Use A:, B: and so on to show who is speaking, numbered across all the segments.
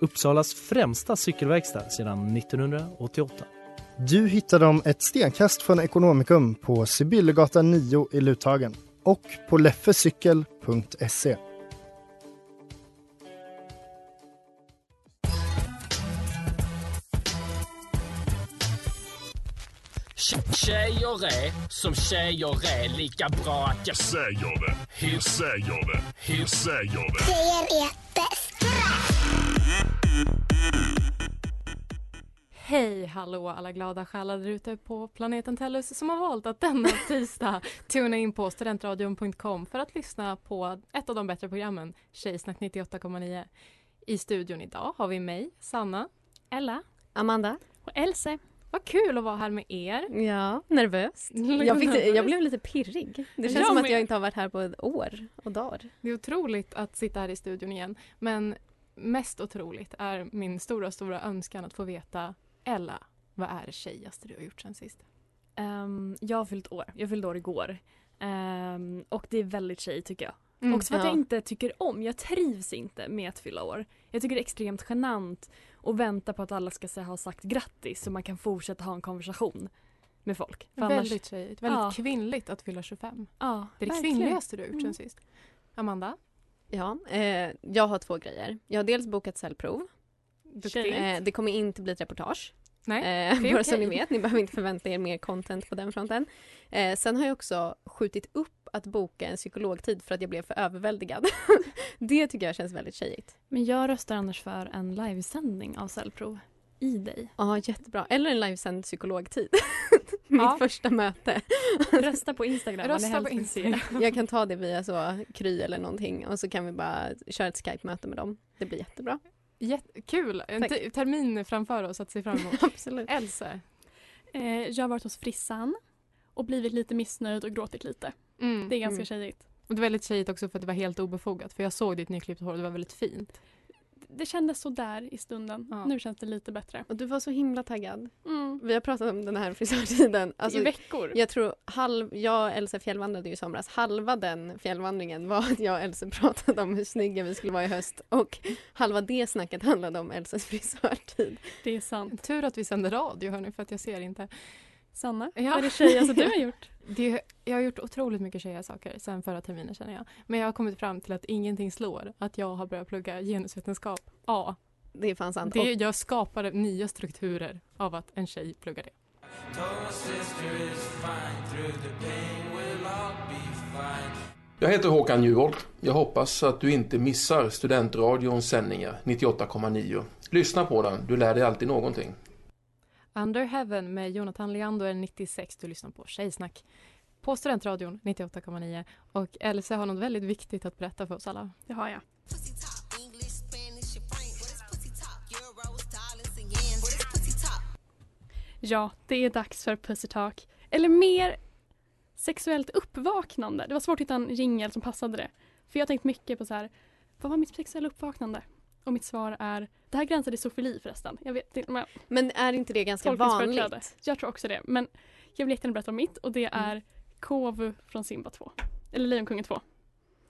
A: Uppsalas främsta cykelverkstad sedan 1988.
B: Du hittar dem ett stenkast från Ekonomikum på Sibyllegatan 9 i Luthagen och på leffecykel.se.
C: Tjejer är som tjejer är lika bra att jag säger det. Hur säger det? Hur säger det?
D: Hej hallå alla glada själar där ute på planeten Tellus som har valt att denna tisdag tuna in på studentradion.com för att lyssna på ett av de bättre programmen, Tjejsnack 98,9. I studion idag har vi mig, Sanna.
E: Ella.
F: Amanda?
E: Och Else.
D: Vad kul att vara här med er.
F: Ja, nervös. Jag, fick, jag blev lite pirrig. Det känns
E: Jag
F: som att
E: med.
F: jag inte har varit här på ett år och dagar.
D: Det är otroligt att sitta här i studion igen, men mest otroligt är min stora, stora önskan att få veta, Ella, vad är det tjejigaste du har gjort sen sist?
G: Ehm, jag har fyllt år. Jag fyllde år igår. Ehm, och det är väldigt tjej tycker jag.
D: Mm,
G: Också för att
F: ja.
G: jag inte tycker om, jag trivs inte med att fylla år. Jag tycker det är extremt genant att vänta på att alla ska säga, ha sagt grattis så man kan fortsätta ha en konversation med folk. För annars-
D: Väldigt tjejigt, väldigt
G: Ja.
D: kvinnligt att fylla 25.
G: ja,
D: Det är det
G: verkligen.
D: kvinnligaste du har gjort sen
G: Mm.
D: sist. Amanda,
F: Ja, eh, jag har två grejer. Jag har dels bokat cellprov.
D: duktig.
F: Eh, det kommer inte bli ett reportage.
D: Nej,
F: Eh,
D: det är
F: bara så ni
D: okej.
F: vet, ni behöver inte förvänta er mer content på den fronten. Eh, sen har jag också skjutit upp att boka en psykologtid för att jag blev för överväldigad. det tycker jag känns väldigt tjejigt.
G: Men jag röstar annars för en livesändning av cellprov i dig.
F: Ja, jättebra. Eller en livesänd psykologtid. Mitt
D: Ja.
F: första möte.
G: Rösta på Instagram. vad ni
D: Rösta på
G: helst vill se.
D: Instagram.
F: Jag kan ta det via så Kry eller någonting och så kan vi bara köra ett Skype-möte med dem. Det blir jättebra.
D: Jättekul! En
F: Tack.
D: te- termin framför oss att se fram emot.
F: Absolut.
D: Else,
E: Eh, jag har varit hos frissan och blivit lite missnöjd och gråtit lite.
D: mm.
E: Det är ganska
F: Mm.
E: tjejigt.
D: och det är väldigt tjejigt också för att det var helt obefogat för jag såg ditt nyklippt hår det var väldigt fint.
E: Det kändes så där i stunden.
D: Ja.
E: Nu känns det lite bättre.
F: Och du var så himla taggad.
E: Mm.
F: Vi har pratat om den här frisörtiden. Alltså,
E: I veckor.
F: Jag tror halv, jag och Elsa fjällvandrade ju i somras. Halva den fjällvandringen var att jag och Elsa pratade om hur snygga vi skulle vara i höst och halva det snacket handlade om Elsas frisörtid.
E: Det är sant.
D: Tur att vi sänder radio hörni för att jag ser inte.
E: Sanna,
D: Ja.
E: vad är det tjejigaste du har gjort?
D: Det, jag har gjort otroligt mycket tjejiga saker sen förra terminen känner jag. Men jag har kommit fram till att ingenting slår att jag har börjat plugga genusvetenskap. Ja,
F: Det är fan sant.
D: det, jag skapade nya strukturer av att en tjej pluggar det.
H: Jag heter Håkan Juholt. Jag hoppas att du inte missar Studentradions sändningar 98,9. Lyssna på den, du lär dig alltid någonting.
D: Under Heaven med Jonathan Leander 96. Du lyssnar på Tjejsnack på Studentradion 98,9. Och Else har något väldigt viktigt att berätta för oss alla.
E: Det har jag. Ja, det är dags för Pussy Talk. Eller mer sexuellt uppvaknande. Det var svårt att hitta en jingel som passade det. För jag har tänkt mycket på så här, vad var mitt sexuella uppvaknande? Och mitt svar är, det här gränsar till zoofili förresten. Jag vet inte om jag
F: Men är inte det ganska
E: tolkningsföreträde.
F: vanligt?
E: Jag tror också det. Men jag vill jättegärna berätta om mitt och det är Kovu från Simba 2. Eller Lejonkungen 2.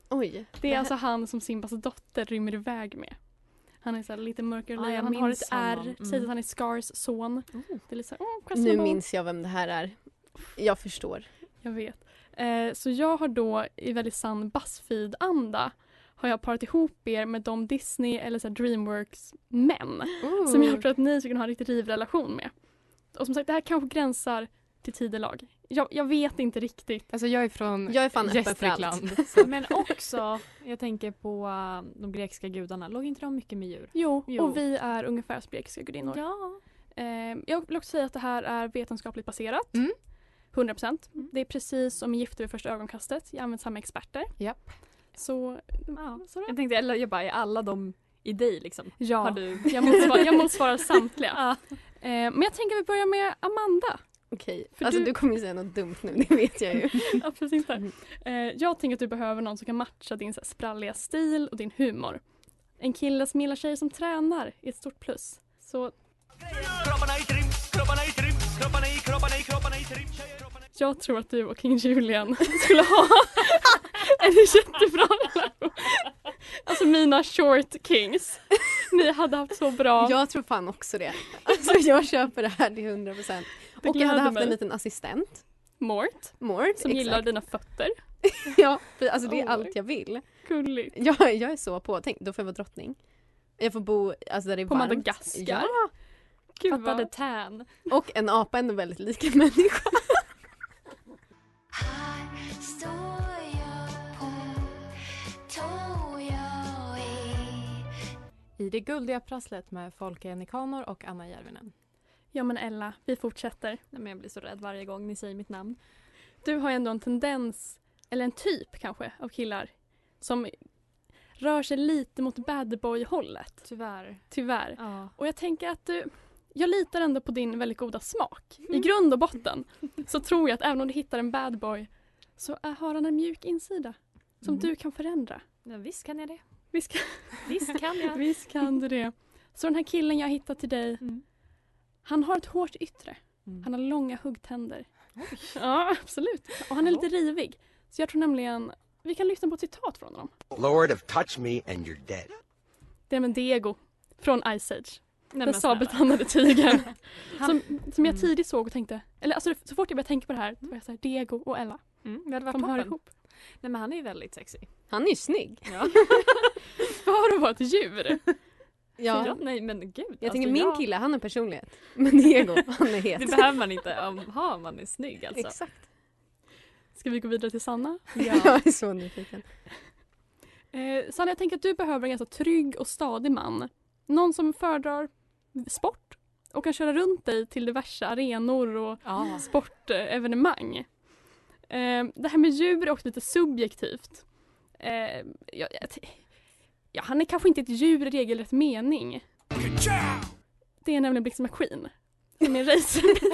F: Oj.
E: Det är
F: här-
E: alltså han som Simbas dotter rymmer iväg med. Han är så här lite mörkare
G: Ja, jag
E: lejon, han har
G: minns
E: ett ärr,
G: honom.
E: sägs
G: Mm.
E: att han är Scars son. Det är lite så här, åh,
F: nu
E: questionable.
F: minns jag vem det här är. Jag förstår.
E: Jag vet. Eh, så jag har då i väldigt sann Buzzfeed-anda har jag parat ihop er med de Disney eller så här Dreamworks-män som
D: Mm.
E: jag tror att ni skulle kunna ha en riktigt riv relation med. Och som sagt, det här kanske gränsar till tidelag. Jag, jag vet inte riktigt.
D: Alltså jag är från
F: Jag är fan öppen för allt.
D: Gästrikland.
G: Men också, jag tänker på eh, de grekiska gudarna. Låg inte de mycket med djur?
E: Jo,
G: Jo.
E: och vi är ungefär som grekiska gudinnor.
G: Ja.
E: Eh, jag vill också säga att det här är vetenskapligt baserat.
D: Mm.
E: 100 procent. Det är precis som Gifter vid första ögonkastet. Jag använder samma experter.
D: Japp.
E: Så,
G: ja.
E: så då.
G: Jag tänkte, eller jag bara, är alla de i dig liksom? Har
E: Ja,
G: du...
E: jag motsvarar, jag motsvarar samtliga. Eh, men jag tänker vi börjar med Amanda.
F: Okej,
E: För
F: alltså
E: du-
F: du... kommer ju säga något dumt nu, det vet jag ju.
E: Absolut
D: Mm.
E: inte. Eh, jag tänker att du behöver någon som kan matcha din så här, spralliga stil och din humor. En kille som gillar tjejer som tränar är ett stort plus. Så jag tror att du och King Julian skulle ha en jättebra relation. Alltså mina short kings. Ni hade haft så bra.
F: Jag tror fan också det. Alltså jag köper det här till 100 procent.
E: Det
F: Och jag hade
E: gläder
F: haft
E: mig.
F: en liten assistent,
E: Mort
F: Mort.
E: som gillar dina fötter.
F: Ja, för alltså det är
E: Oh.
F: allt jag vill.
E: Gulligt.
F: Jag, jag är så på. Tänk, då får jag vara drottning. Jag får bo alltså, där det är
E: På
F: varmt.
E: Madagaskar.
F: Ja,
E: Gud
G: Fattade
E: vad...
G: tan.
F: och en apa är ändå väldigt lik en människa.
D: I det guldiga prasslet med Folke Nikanor och Anna Järvinen.
E: Ja men Ella, vi fortsätter.
G: Nej, men jag blir så rädd varje gång ni säger mitt namn.
E: Du har ju ändå en tendens, eller en typ kanske, av killar som rör sig lite mot badboy-hållet,
G: Tyvärr.
E: tyvärr.
G: Ja.
E: Och jag tänker att du, jag litar ändå på din väldigt goda smak. I grund och botten så tror jag att även om du hittar en badboy så är- har han en mjuk insida
D: Mm.
E: som du kan förändra.
G: Mm. Ja, visst kan jag det.
E: Visst kan,
G: Visst kan jag.
E: visst kan du det. Så den här killen jag hittat till dig,
G: Mm.
E: han har ett hårt yttre. Han har långa huggtänder. Ja, absolut. Och han är lite rivig. Så jag tror nämligen, vi kan lyssna på ett citat från honom.
I: Lord have touched me and you're dead.
E: Det är med Diego från Ice Age.
G: Nej,
E: Den
G: men snälla. mm.
E: sabeltandade tigern. som, som jag tidigt såg och tänkte, eller alltså så fort jag började tänka på det här, då var jag såhär Diego och Ella,
G: Mm, vi hade varit
E: de hör
G: toppen.
E: ihop.
G: Nej, men han är ju väldigt sexy.
F: Han är ju snygg.
E: För att vara ett djur.
G: Ja.
F: Ja.
G: nej men gud. alltså,
F: Jag tänker min
G: jag-
F: kille, han har personlighet. Men Diego, han är het.
G: Det behöver man inte om- ha om man är snygg alltså.
F: Exakt.
E: Ska vi gå vidare till Sanna?
F: Jag är så nyfiken.
E: Eh, Sanna, jag tänker att du behöver en ganska trygg och stadig man. Någon som föredrar sport och kan köra runt dig till diverse arenor och
D: Ja.
E: sportevenemang. Eh, det här med djur är också lite subjektivt. Eh, jag, jag, t- ja, han är kanske inte ett djur i regelrätt mening. Det är nämligen Blixten McQueen som är en racerbil.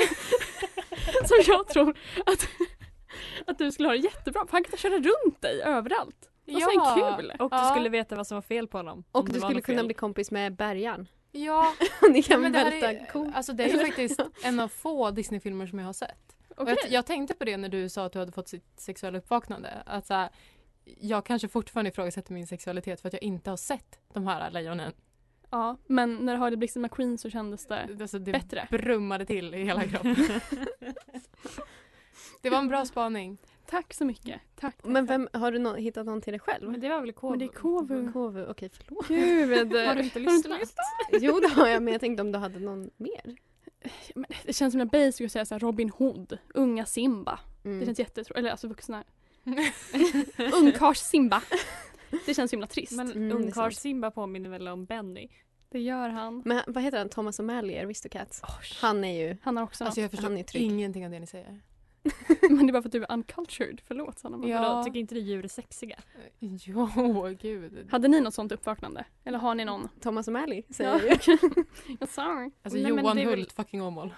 E: som jag tror att, att du skulle ha det jättebra för han kan köra runt dig överallt. Och så är han kul.
G: Och du
D: Ja.
G: skulle veta vad som var fel på honom. om
F: Och
G: det
F: du
G: var
F: skulle
G: något
F: kunna
G: fel.
F: bli kompis med bärgaren.
D: Ja,
F: Ni kan
D: men det här
F: välta
D: är,
F: kon.
D: alltså det är ju faktiskt en av få Disney-filmer som jag har sett. Och
E: Okej.
D: jag, jag tänkte på det när du sa att du hade fått sitt sexuella uppvaknande. Att så här, jag kanske fortfarande ifrågasätter min sexualitet för att jag inte har sett de här lejonen.
E: Ja, men när du hörde Blixten McQueen så kändes det
D: Alltså, det
E: bättre.
D: brummade till i hela kroppen. det var en bra spaning.
E: Tack så mycket. Tack. tack,
F: Men
E: tack.
F: vem, har du nå- hittat någon till dig själv?
G: Men det var väl KV?
E: Men det är KV.
F: KV, okej förlåt.
E: Gud.
G: Har du inte lyssnat?
F: Jo det har jag men jag tänkte om du hade någon mer.
E: Men det känns som när Bay skulle säga så här Robin Hood, unga Simba. Det
F: Mm.
E: känns jättetråkigt. Eller alltså vuxna. Ungkars Simba. Det känns himla trist.
G: Men
F: Mm, det är
G: ungkarl
F: sant.
G: Simba påminner väl om Benny?
E: det gör han.
F: Men vad heter han? Thomas O'Malley, Aristocats. Han är ju...
E: Han har också
D: Alltså jag
F: Han
D: förstår
F: är trygg.
D: ingenting av det ni säger.
E: något. Men det är bara för att du är uncultured. Förlåt Sanna.
D: Ja.
G: Vadå, tycker inte du djur är sexiga?
D: Jo, gud.
E: Hade ni något sånt uppvaknande? Eller har ni någon?
F: Thomas O'Malley säger
E: Ja.
F: jag ju.
E: I'm sorry.
D: Alltså
G: Nej, men
D: Johan
G: det är väl-
D: Hult fucking Åmål.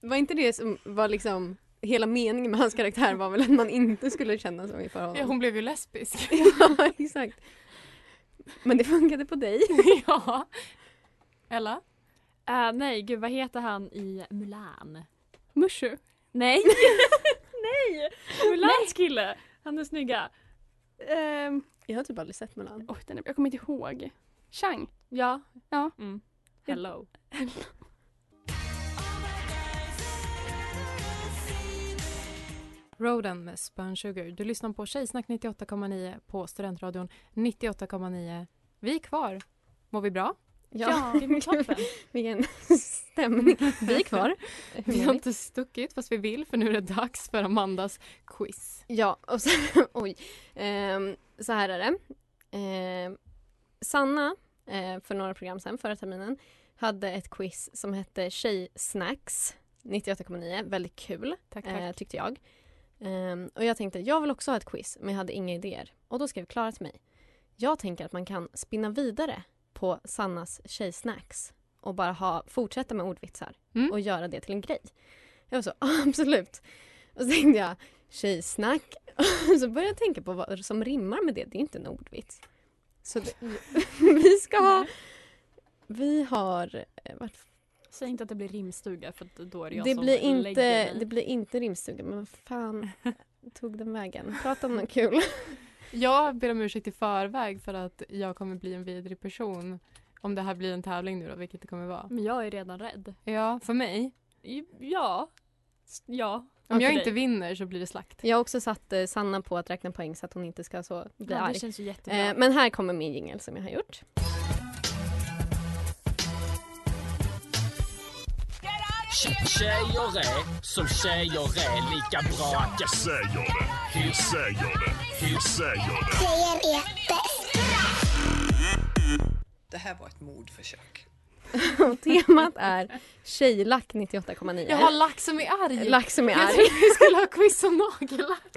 F: Var inte det som var liksom... Hela meningen med hans karaktär var väl att man inte skulle känna så inför
D: Ja,
F: honom.
D: hon blev ju lesbisk.
F: Ja, exakt. Men det funkade på dig.
D: ja. Ella?
G: Äh, nej, gud vad heter han i Mulan?
E: Mushu.
G: Nej! nej! Mulans kille! Han är snygga.
E: Ehm,
F: Jag har typ aldrig sett Mulan.
E: oj, den är, jag kommer inte ihåg. Chang.
G: Ja.
E: Ja.
G: Mm. Hello.
D: Roden med Spun Sugar. Du lyssnar på Tjejsnack 98,9 på Studentradion 98,9. Vi är kvar. Mår vi bra?
G: Ja, det är väl toppen.
F: Vilken stämning. Vi är kvar.
D: Vi har inte stuckit fast vi vill för nu är det dags för Amandas quiz.
F: Ja, och så, oj. Ehm, så här är det. Ehm, Sanna, eh, för några program sen, förra terminen, hade ett quiz som hette Tjejsnacks 98,9. Väldigt kul,
D: Tack,
F: eh, tyckte jag. Ehm, och jag tänkte, jag vill också ha ett quiz, men jag hade inga idéer. Och då skrev Klara till mig. Jag tänker att man kan spinna vidare på Sannas tjejsnacks och bara ha, fortsätta med ordvitsar
D: Mm.
F: och göra det till en grej. Jag var så, "Ja, absolut. Och så tänkte jag, tjejsnack. Och så började jag tänka på vad som rimmar med det. Det är inte en ordvits. Så det, vi ska ha... Vi har... eh, Vart
G: Säg inte att det blir rimstuga för att då är det jag
F: det
G: som
F: blir,
G: lägger
F: inte,
G: mig.
F: det blir inte rimstuga, men vad fan tog den vägen? Prata om något kul.
D: Jag ber om ursäkt i förväg för att jag kommer bli en vidrig person om det här blir en tävling nu då, vilket det kommer vara.
G: Men jag är redan rädd.
D: Ja, för mig.
G: Ja. S- Ja.
D: Om
G: Ja,
D: jag
G: för
D: inte
G: dig.
D: vinner så blir det slakt.
F: Jag har också satt eh, Sanna på att räkna poäng så att hon inte ska så bli
G: Ja,
F: arg.
G: det känns ju jättebra.
F: Eh, men här kommer min jingel som jag har gjort.
C: Tje- Tjejer är som tjejer är lika bra att jag säger det. Hur säger det? Hur säger det?
J: Det här var ett mordförsök.
F: Och temat är tjejlack 98,9.
D: Jag har lack som är arg!
F: Lack som är
D: Jag
F: arg.
D: trodde vi skulle ha quiz om nagellack.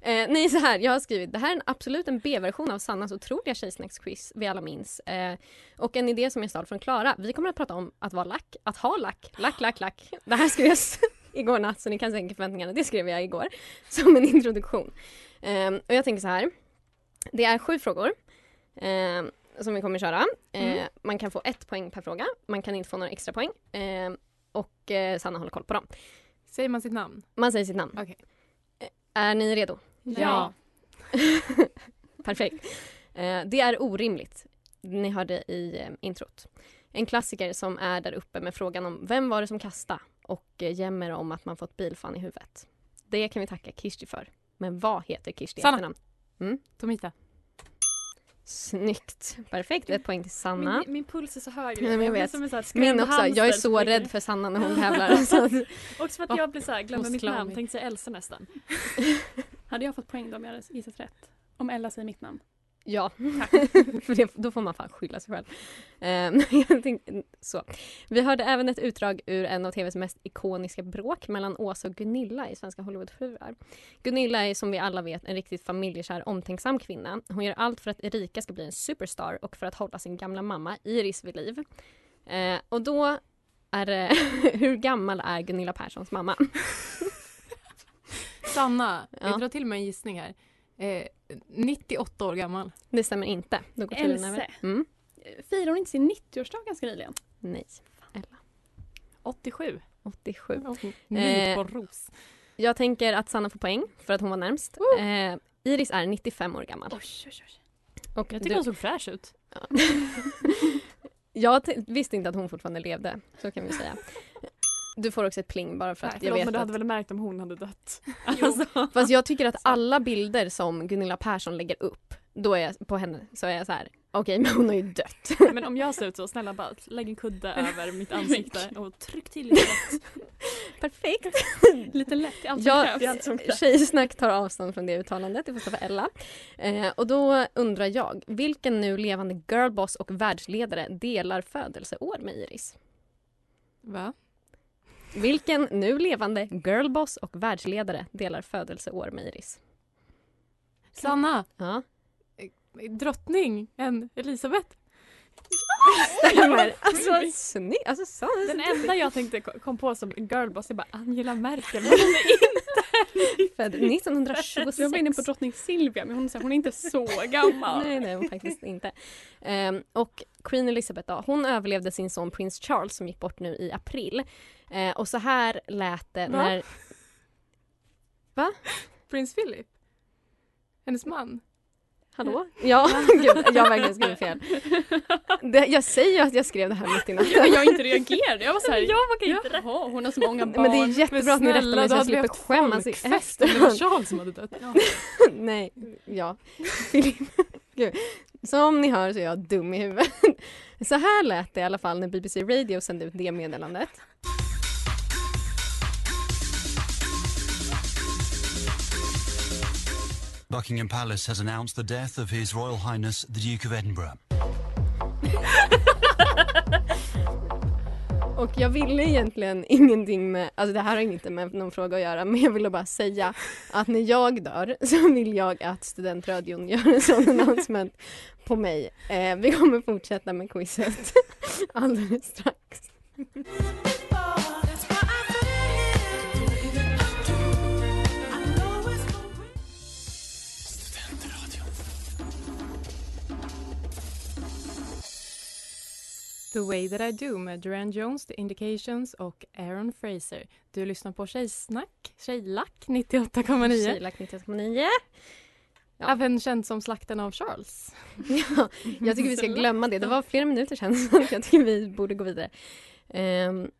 F: Eh, nej, så här. Jag har skrivit det här är en, absolut en B-version av Sannas otroliga tjejsnacksquiz vi alla minns. Eh, och en idé som jag stal från Klara. Vi kommer att prata om att vara lack, att ha lack, lack, lack, lack. Det här skrevs igår natt så ni kan sänka förväntningarna. Det skrev jag igår som en introduktion. Eh, och jag tänker så här. Det är sju frågor eh, som vi kommer köra. Eh, Man kan få ett poäng per fråga. Man kan inte få några extra poäng. Eh, och eh, Sanna håller koll på dem.
D: Säger man sitt namn?
F: Man säger sitt namn.
D: Okej.
F: Eh, Är ni redo?
G: Ja.
F: Perfekt. Eh, det är orimligt. Ni hörde i eh, introt. En klassiker som är där uppe med frågan om vem var det som kastade och eh, jämmer om att man fått bilfan i huvudet. Det kan vi tacka Kirsti för. Men vad heter Kirsti i
D: Sanna.
F: efternamn?
D: Tomita.
F: Snyggt. Perfekt. Ett poäng till Sanna.
G: Min, min puls är så hög.
F: Nej, men jag
G: blir
F: vet.
G: Som en så här
F: Min
G: skrämd
F: också. Jag är
G: hamster som
F: så
G: ligger-
F: rädd för Sanna när hon tävlar. alltså. Så att-
G: Också för att jag blir så här, glömmer
F: Måste
G: mitt
F: klara
G: namn.
F: mig.
G: Tänkte säga Elsa nästan.
E: Hade jag fått poäng då om jag hade gissat rätt? Om Ella säger mitt namn.
F: Ja, för det, då får man fan skylla sig själv. Eh, jag tänkte, så. Vi hörde även ett utdrag ur en av tvs mest ikoniska bråk mellan Åsa och Gunilla i Svenska Hollywoodfruar. Gunilla är som vi alla vet en riktigt familjekär omtänksam kvinna. Hon gör allt för att Erika ska bli en superstar och för att hålla sin gamla mamma Iris vid liv. Eh, och då är det, hur gammal är Gunilla Perssons mamma?
D: Sanna,
F: Ja.
D: jag drar till med en gissning här. Eh, 98 år gammal.
F: Det stämmer inte. Då går tiden över.
E: Else.
F: Mm.
E: Firade hon inte sin 90-årsdag ganska nyligen?
F: Nej,
G: 87.
F: Mm. 87. Eh,
D: Ny på en ros.
F: Jag tänker att Sanna får poäng för att hon var närmst. Eh, Iris är 95 år gammal.
E: Oj, oj, oj.
F: Och
G: Jag tycker
F: du,
G: hon såg fräsch ut.
F: jag t- visste inte att hon fortfarande levde, så kan vi säga. Du får också ett pling bara för att
G: Nej,
F: jag
G: förlåt,
F: vet
G: men du hade
F: att,
G: väl märkt om hon hade dött? Alltså.
F: Fast jag tycker att alla bilder som Gunilla Persson lägger upp, då är jag på henne, så är jag så här. okej men hon har ju dött.
G: Men om jag ser ut så, snälla bara lägg en kudde över mitt ansikte och tryck till lite lätt.
F: Perfekt.
E: Lite lätt, det är allt
F: Ja,
E: som krävs.
F: Tjejsnack tar avstånd från det uttalandet, det får stå för Ella. Eh, och då undrar jag, vilken nu levande girlboss och världsledare delar födelseår med Iris?
D: Va?
F: Vilken nu levande girlboss och världsledare delar födelseår med Iris?
D: Sanna,
F: Ja,
D: drottning, en Elisabeth.
F: stämmer. Alltså, snygg. Alltså, så.
G: Den enda jag tänkte kom på som girlboss är bara Angela Merkel. Men hon är
F: Född 1926.
E: Jag var inne på drottning Silvia men hon, är så här, hon är inte så gammal.
F: Nej, det är hon faktiskt inte. Ehm, och Queen Elizabeth då, hon överlevde sin son prins Charles som gick bort nu i april. Eh, och så här lät det
D: Va?
F: när...
D: Prins Philip. Hennes man.
F: Hallå? Ja, gud, jag har verkligen skrivit fel. Det, jag säger ju att jag skrev det här mitt i natten.
E: Jag inte reagerade. Jag var såhär,
G: Jag vågar inte
E: jaha hon har så många barn.
F: Men det är jättebra att ni rättar mig så jag slipper skämmas i
D: folkfest om det var Alltså, Charles som hade dött.
F: Nej, ja. Filip. Gud. Som ni hör så är jag dum i huvudet. Så här lät det i alla fall när BBC Radio sände ut det meddelandet.
I: Buckingham Palace has announced the death of His Royal Highness the Duke of Edinburgh.
F: Och Och jag ville egentligen ingenting med, alltså det här har inget med någon fråga att göra, men jag ville bara säga att när jag dör så vill jag att studentradion gör en sån announcement på mig. Eh, vi kommer fortsätta med quizet alldeles strax.
D: The Way That I Do med Duran Jones, The Indications och Aaron Fraser. Du lyssnar på Tjejsnack, Tjejlack 98,9.
F: Tjejlack 98,9.
D: Även känd som slakten av Charles.
F: Ja, jag tycker vi ska glömma det. Det var flera minuter sedan så jag tycker vi borde gå vidare. Um,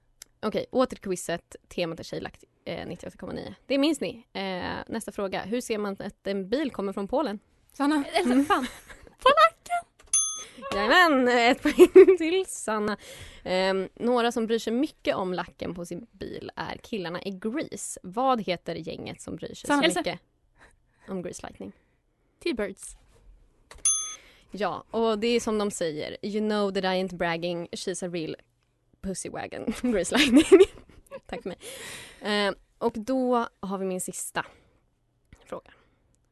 F: Okej, åter till quizet. Temat är tjejlakt eh, 98,9. Det minns ni. Eh, nästa fråga. Hur ser man att en bil kommer från Polen?
D: Sanna, Mm.
F: Eller fan, polacken! Jajamän, ett poäng till Sanna. Ehm, några som bryr sig mycket om lacken på sin bil är killarna i Grease. Vad heter gänget som bryr sig
D: Sanna.
F: så
D: Elsa.
F: mycket om Grease Lightning?
D: T-Birds.
F: Ja, och det är som de säger. You know that I ain't bragging, she's a real pussywagon. Grace Lightning. Tack för mig. Eh, och då har vi min sista fråga.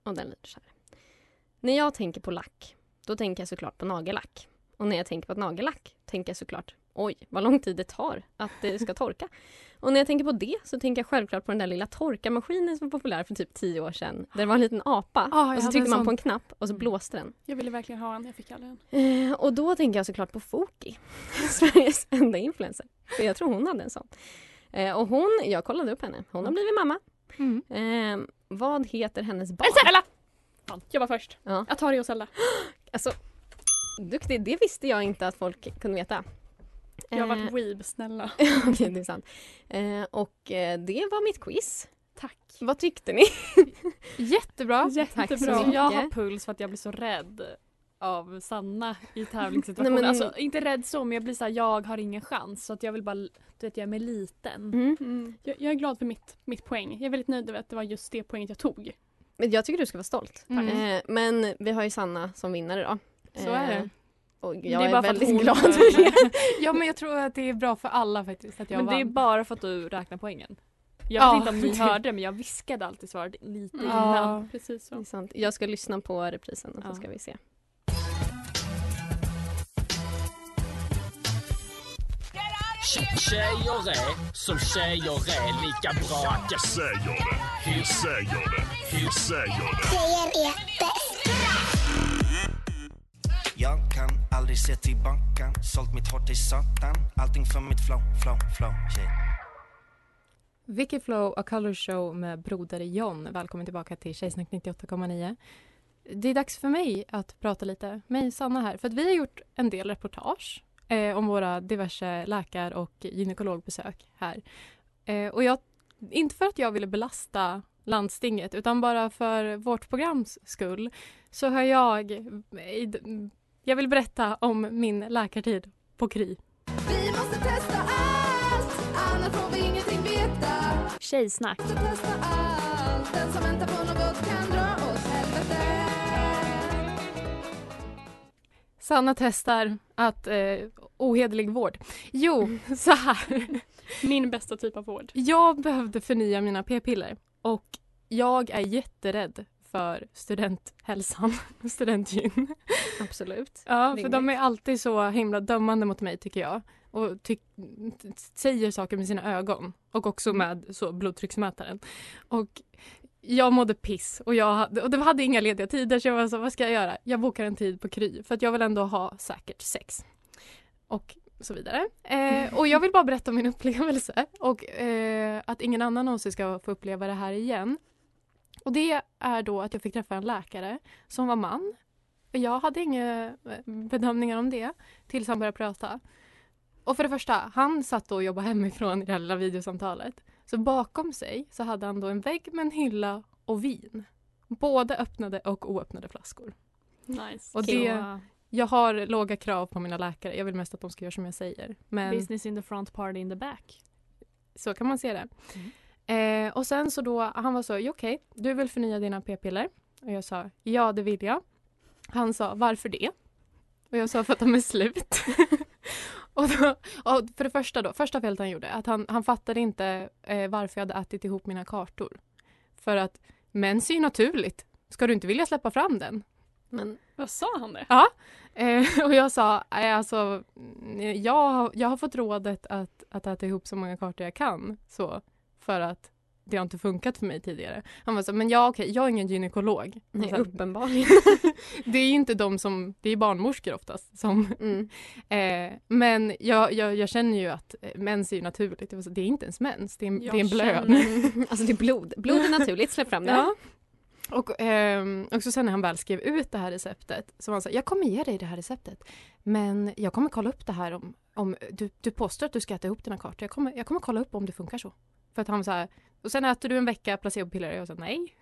F: Och den lyder så här. När jag tänker på lack, då tänker jag såklart på nagellack. Och när jag tänker på ett nagellack tänker jag såklart Oj, vad lång tid det tar att det ska torka. Och när jag tänker på det så tänker jag självklart på den där lilla torkarmaskinen som var populär för typ tio år sedan. Där det var en liten apa
D: Ja, Ah, jag
F: och så
D: hade
F: tryckte
D: en
F: man
D: sån.
F: på en knapp och så blåste den.
E: Jag ville verkligen ha en, jag fick aldrig en.
F: Eh, och då tänker jag såklart på Foki, Sveriges enda influencer. För jag tror hon hade en sån. Eh, och hon, jag kollade upp henne, hon har blivit mamma.
D: Mm.
F: Eh, vad heter hennes barn?
E: Elsa! Ella! Fan, jag var först.
F: Ja.
E: Atari och Zelda.
F: Alltså, duktig, det visste jag inte att folk kunde veta.
E: Jag har
F: Eh,
E: varit weeb, snälla.
F: Okej, det är sant. Eh, och eh, det var mitt quiz.
E: Tack.
F: Vad tyckte ni?
D: Jättebra.
E: Jättebra.
F: Tack så mycket.
G: Jag har puls för att jag blir så rädd av Sanna i tävlingssituationer.
F: Nej, men-
G: Alltså inte rädd så men jag blir så här, jag har ingen chans så att jag vill bara, du vet jag är mig liten.
F: Mm.
E: Mm. Jag, jag är glad för mitt, mitt poäng. Jag är väldigt nöjd över att det var just det poänget jag tog.
F: Men jag tycker du ska vara stolt.
D: Mm.
F: Eh, men vi har ju Sanna som vinnare då. Eh,
D: Så är det.
F: Och
G: Det är
F: jag är,
G: bara för att
F: väldigt
G: hon-
F: glad för
G: eh,
F: det.
D: Ja, men jag tror att det är bra för alla faktiskt att jag
G: men det är
D: vann.
G: bara för att du räknar poängen. Jag
D: Ja,
G: vet inte om ni
D: det-
G: hörde men jag viskade alltid svaret lite
E: Mm.
G: innan.
D: Ja.
E: Precis
F: Det är
E: så.
F: sant. Jag ska lyssna på reprisen och så
G: Ja.
F: ska vi se.
C: Tje- Tjejer är som tjejer är lika bra att jag säger det. Hur säger det? Hur säger det?
K: Jag kan aldrig se tillbaka Sålt mitt hår till satan Allting för mitt flow, flow, flow yeah.
D: Vicky Flow, A Color Show med Broder John. Välkommen tillbaka till Tjejsnack 98,9. Det är dags för mig att prata lite, mig Sanna här, för att vi har gjort en del reportage eh, om våra diverse läkar och gynekologbesök här. Eh, och jag, inte för att jag ville belasta landstinget utan bara för vårt programs skull så har jag, eh, i d- jag vill berätta om min läkartid på Kry.
L: Vi måste testa allt, annars får vi ingenting veta.
G: Tjejsnack.
L: Vi måste testa allt, den som väntar på något kan dra åt helvete.
D: Sanna testar att eh, ohederlig vård. Jo, så här.
E: Min bästa typ av vård.
D: Jag behövde förnya mina p-piller och jag är jätterädd för studenthälsan och studentgyn.
F: Absolut.
D: Ja, för
F: Rimligt.
D: de är alltid så himla dömande mot mig tycker jag och ty- säger saker med sina ögon och också med så blodtrycksmätaren. Och jag mådde piss och jag hade, och det hade inga lediga tider så jag var så vad ska jag göra? Jag bokar en tid på Kry för att jag vill ändå ha säkert sex. Och så vidare. Eh, och jag vill bara berätta om min upplevelse och eh, att ingen annan någonsin ska få uppleva det här igen. Och det är då att jag fick träffa en läkare som var man jag hade inga eh, bedömningar om det tills han började prata. Och för det första, han satt då och jobbade hemifrån i det här lilla videosamtalet. Så bakom sig så hade han då en vägg med en hylla och vin. Både öppnade och oöppnade flaskor.
E: Nice.
D: Och
G: Så,
D: det, jag har låga krav på mina läkare. Jag vill mest att de ska göra som jag säger. Men
G: Business in the front, party in the back.
D: så kan man se det. Eh, och sen så då, han var så, "Ja, okej, du vill förnya dina p-piller? Och jag sa, ja det vill jag. Han sa, varför det? Och jag sa, för att de är slut. Och då, och för det första då, första felet han gjorde, att han, han fattade inte eh, varför jag hade ätit ihop mina kartor. För att mens är ju naturligt, ska du inte vilja släppa fram den?
F: Men
E: vad sa han det?
D: Ja, eh, och jag sa, eh, alltså, eh, jag, jag har fått rådet att, att äta ihop så många kartor jag kan, så, för att det har inte funkat för mig tidigare. Han var så, men ja okej, jag är ingen gynekolog.
F: Nej,
D: Och sen-
F: uppenbarligen.
D: det är ju inte de som, det är barnmorskor oftast som,
F: Mm.
D: eh, men jag, jag, jag känner ju att eh, mens är ju naturligt, det, var så, det är inte ens mens, det är, en- det
F: Jag
D: är en blöd.
F: känner- Alltså, det är blod. Blod är naturligt, släpp fram det.
D: Ja. Och, ehm, och så sen när han väl skrev ut det här receptet så var han så här, jag kommer ge dig det här receptet men jag kommer kolla upp det här om, om du, du påstår att du ska äta ihop dina kartor. Jag kommer, jag kommer kolla upp om det funkar så. För att han var så här, och sen äter du en vecka placebopiller och jag sa nej.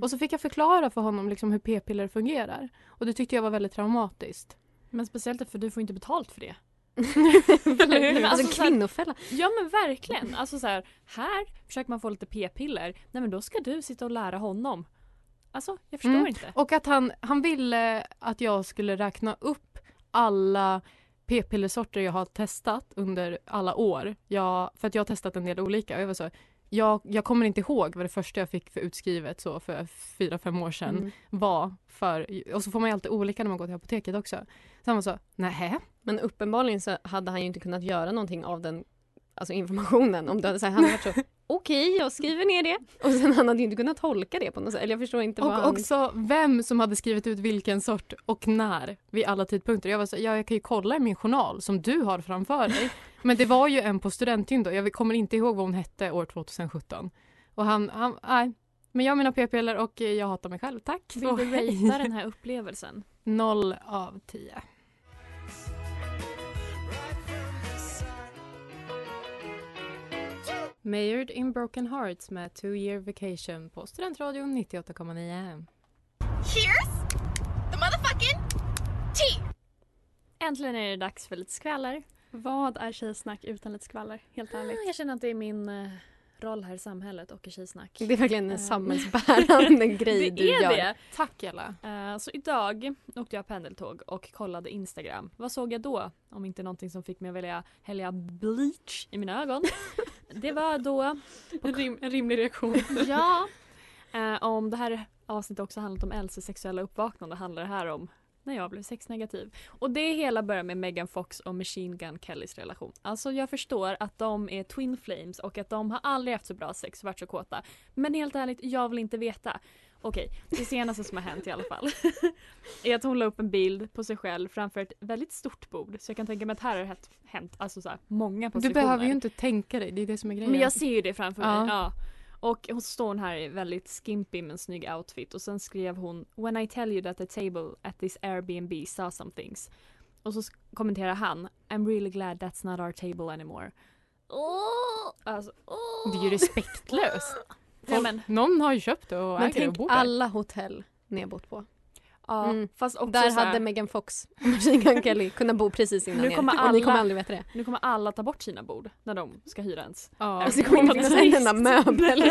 D: Och så fick jag förklara för honom liksom hur p-piller fungerar och det tyckte jag var väldigt traumatiskt.
G: Men speciellt för du får inte betalt för det.
F: Alltså,
G: så här-
F: kvinnofälla.
G: Ja men verkligen. Alltså så här, här försöker man få lite p-piller. Nej men då ska du sitta och lära honom. Alltså jag förstår
D: Mm.
G: inte.
D: Och att han, han ville att jag skulle räkna upp alla p-pillersorter jag har testat under alla år. Jag, för att jag har testat en del olika. Och jag, var så, jag, jag kommer inte ihåg vad det första jag fick för utskrivet så för fyra, fem år sedan
F: Mm.
D: var. För, och så får man ju alltid olika när man går till apoteket också. Så han var så, nähä.
F: Men uppenbarligen så hade han ju inte kunnat göra någonting av den alltså informationen. Om du hade sagt, han hade varit så, okej jag skriver ner det. Och sen han hade ju inte kunnat tolka det på något sätt. Eller jag förstår inte vad
D: Och
F: han...
D: också vem som hade skrivit ut vilken sort och när vid alla tidpunkter. Jag var så, ja, jag kan ju kolla i min journal som du har framför dig. Men det var ju en på Studentin då. Jag kommer inte ihåg vad hon hette år 2017. Och han, han nej. Men jag har mina p-piller och eh, jag hatar mig själv. Tack.
G: Vill
D: och
G: du
D: hej.
G: ratea den här upplevelsen?
D: Noll av tio. Mayored in Broken Hearts med Two Year Vacation på Studentradion 98,9.
L: Here's the motherfucking tea!
G: Äntligen är det dags för lite skvaller. Ah,
E: Vad är tjejsnack utan lite skvaller? Helt ärligt.
G: Jag känner att det är min eh, roll här i samhället och i Tjejsnack.
F: Det är verkligen en
G: Eh,
F: samhällsbärande
G: det
F: grej du
G: är
F: gör.
G: det.
D: Tack alla.
G: Eh, Så idag åkte jag pendeltåg och kollade Instagram. Vad såg jag då? Om inte någonting som fick mig att välja hälla bleach i mina ögon. Det var då...
E: En, rim, en rimlig reaktion.
G: Ja. Eh, om det här avsnittet också handlat om Elses sexuella uppvaknande handlar det här om när jag blev sexnegativ. Och det hela börjar med Megan Fox och Machine Gun Kellys relation. Alltså jag förstår att de är twin flames och att de har aldrig haft så bra sex och varit så kåta. Men helt ärligt, jag vill inte veta. Okej, det senaste som har hänt i alla fall är att hon la upp en bild på sig själv framför ett väldigt stort bord. Så jag kan tänka mig att här har det hänt- hänt alltså så här, många
D: Du
G: positioner.
D: behöver ju inte tänka dig, det är det som är grejen.
G: Men jag ser ju det framför
D: Ja.
G: mig. Ja. Och hon står hon här i väldigt skimpy men snygg outfit och sen skrev hon When I tell you that the table at this Airbnb saw some things. Och så sk- kommenterar han I'm really glad that's not our table anymore. Åh! Alltså, åh!
D: Det är ju respektlöst.
G: Ja, men,
D: Någon har ju köpt det och
F: Men
D: äger det och
F: tänk
D: bor där.
F: alla hotell ni har bott på.
G: ja,
F: Mm.
G: fast också
F: Där
G: så här,
F: hade Megan Fox och Machine Gun Kelly kunnat bo precis innan
G: Nu
F: er.
G: kommer
F: Och ni
G: alla-
F: kommer aldrig veta det.
G: Nu kommer alla ta bort sina bord när de ska hyra ens.
D: Ja.
F: Alltså, det kommer inte finnas en enda möbel.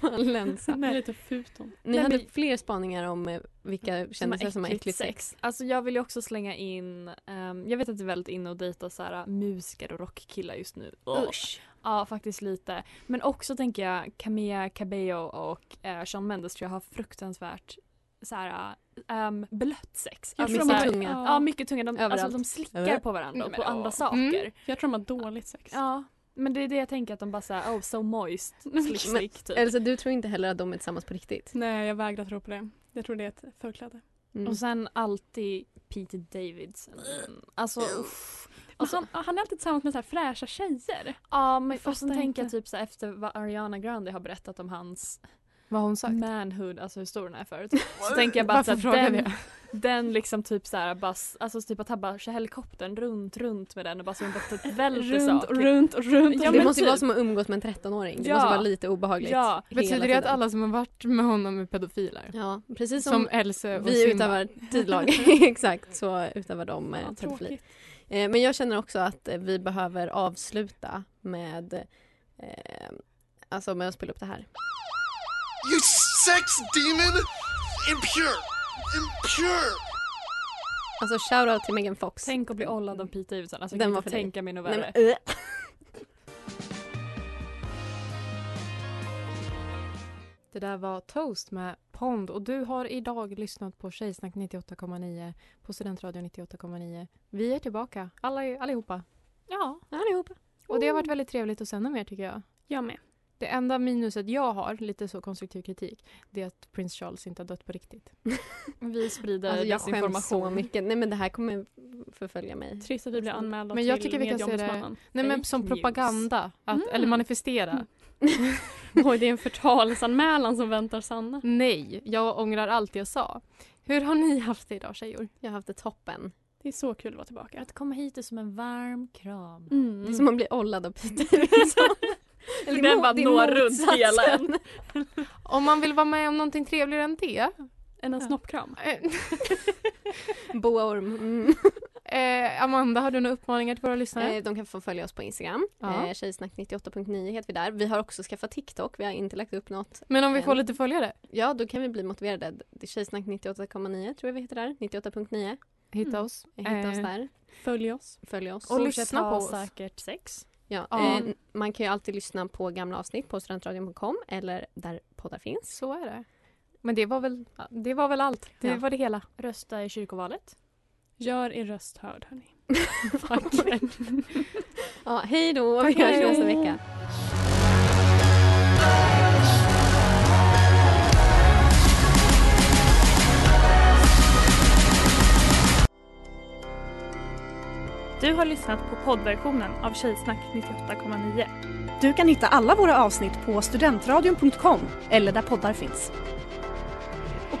F: Fan, länsa.
E: Nej. Lite fult om.
F: Ni
G: Nej,
F: hade
G: men-
F: fler spaningar om eh, vilka kändisar som har äckligt sex.
G: Alltså jag vill ju också slänga in, ehm, jag vet att det är väldigt inne att dejta så här, äh, musiker och rockkillar just nu.
F: Usch.
G: Ja, faktiskt lite. Men också tänker jag Camilla Cabello och eh, Shawn Mendes tror jag har fruktansvärt så här, ehm, blött sex.
E: Jag
F: tror
G: så
F: de har-
G: här-
F: tunga.
G: Ja, mycket tunga. De, alltså,
F: Överallt.
G: de slickar på varandra och på andra saker.
D: Mm.
E: Jag tror de har dåligt sex.
G: Ja, men det är det jag tänker att de bara såhär oh so moist, slick
F: Men- eh,
G: slick typ.
F: Elsa, du tror inte heller att de är tillsammans på riktigt?
E: Nej, jag vägrar tro på det. Jag tror det är ett förkläde.
F: Mm.
G: Och sen alltid Peter Davidson. Alltså uff.
E: Men
G: Alltså,
E: han, han är alltid tillsammans med så här fräscha tjejer.
G: Ja men och
E: fattar
G: sen tänker jag
E: inte.
G: typ så här, efter vad Ariana Grande har berättat om hans
D: Vad har hon sagt?
G: manhood, alltså hur stor den är förut. Så tänker jag bara att så
D: Varför frågar
G: här, den,
D: jag?
G: den liksom typ så här, bara, s- alltså typ att han bara kör helikoptern runt, runt med den och bara så hon bara typ välter
E: Runt och
G: saker.
E: runt och runt.
G: Ja,
F: det
G: men
F: måste ju
G: typ.
F: vara som att umgås med en 13-åring. Det
G: Ja.
F: måste vara lite obehagligt.
G: Ja.
F: hela
D: Betyder det att
F: tiden.
D: alla som har varit med honom är pedofiler?
F: Ja, precis
D: Som,
F: som,
D: Else och
F: vi
D: Simba?
F: utövar tidlag. Exakt, så utövar de eh,
E: Ja,
F: pedofili.
E: tråkigt.
F: Eh, men jag känner också att eh, vi behöver avsluta med eh, Alltså med att spela upp det här.
M: You sex demon! Impure! Impure!
F: Alltså shoutout till Megan Fox.
G: Tänk att bli ollad av Pete Davidson. Alltså,
F: Den
G: jag kan
F: var
G: inte
F: för dig.
G: tänka mig något
F: Nej,
G: värre.
F: men, äh.
D: Det där var Toast med Pond och du har idag lyssnat på Tjejsnack 98,9 på Studentradion 98,9. Vi är tillbaka, alla, allihopa.
G: Ja,
F: allihopa.
D: Och det har varit väldigt trevligt att sända med er tycker jag.
G: Jag med.
D: Det enda minuset jag har, lite så konstruktiv kritik, det är att prins Charles inte har dött på riktigt.
G: Vi sprider
F: Alltså, jag skäms
G: desinformation.
F: så mycket. Nej men det här kommer förfölja mig.
G: Trist att vi blir anmälda
D: Men jag
G: till
D: tycker vi kan se det
G: medieombudsmannen.
D: nej, men
G: Fake
D: som
G: news.
D: propaganda, att,
G: Mm.
D: eller manifestera.
G: Oj, det är en förtalsanmälan som väntar Sanna.
D: Nej, jag ångrar allt jag sa. Hur har ni haft det idag tjejor?
F: Jag har haft det toppen.
E: Det är så kul att vara tillbaka.
G: Att komma hit är som en varm kram.
D: Mm.
M: Mm.
F: Det är som att bli ollad av Peter. liksom.
G: Eller den Mm. bara når runt hela en.
D: Om man vill vara med om någonting trevligare än det.
E: En snoppkram.
F: Boaorm. Mm.
D: Eh, Amanda, har du några uppmaningar till våra lyssnare?
F: Eh, De kan få följa oss på Instagram.
D: Ja.
F: Eh, Tjejsnack98.9 heter vi där. Vi har också skaffat TikTok. Vi har inte lagt upp något.
D: Men om vi
F: än.
D: får lite följare?
F: Ja, då kan vi bli motiverade. Det är Tjejsnack98,9 tror jag vi heter där. 98.9.
D: Hitta oss.
F: Hitta oss
D: Eh,
F: där.
G: Följ oss.
F: Följ oss.
D: Och lyssna på oss.
G: Säkert sex.
F: Ja,
D: Ja.
F: Eh, man kan ju alltid lyssna på gamla avsnitt på studentradion.com eller där poddar finns.
D: Så är det. Men det var väl, det var väl allt. Det
G: Ja.
D: var det hela.
G: Rösta i kyrkovalet.
E: Gör er röst hörd hörni.
F: Ja, hej då! Vi hörs
G: Hej.
F: nästa vecka.
M: Du har lyssnat på poddversionen av Tjejsnack 98,9.
N: Du kan hitta alla våra avsnitt på studentradion.com eller där poddar finns.
M: Och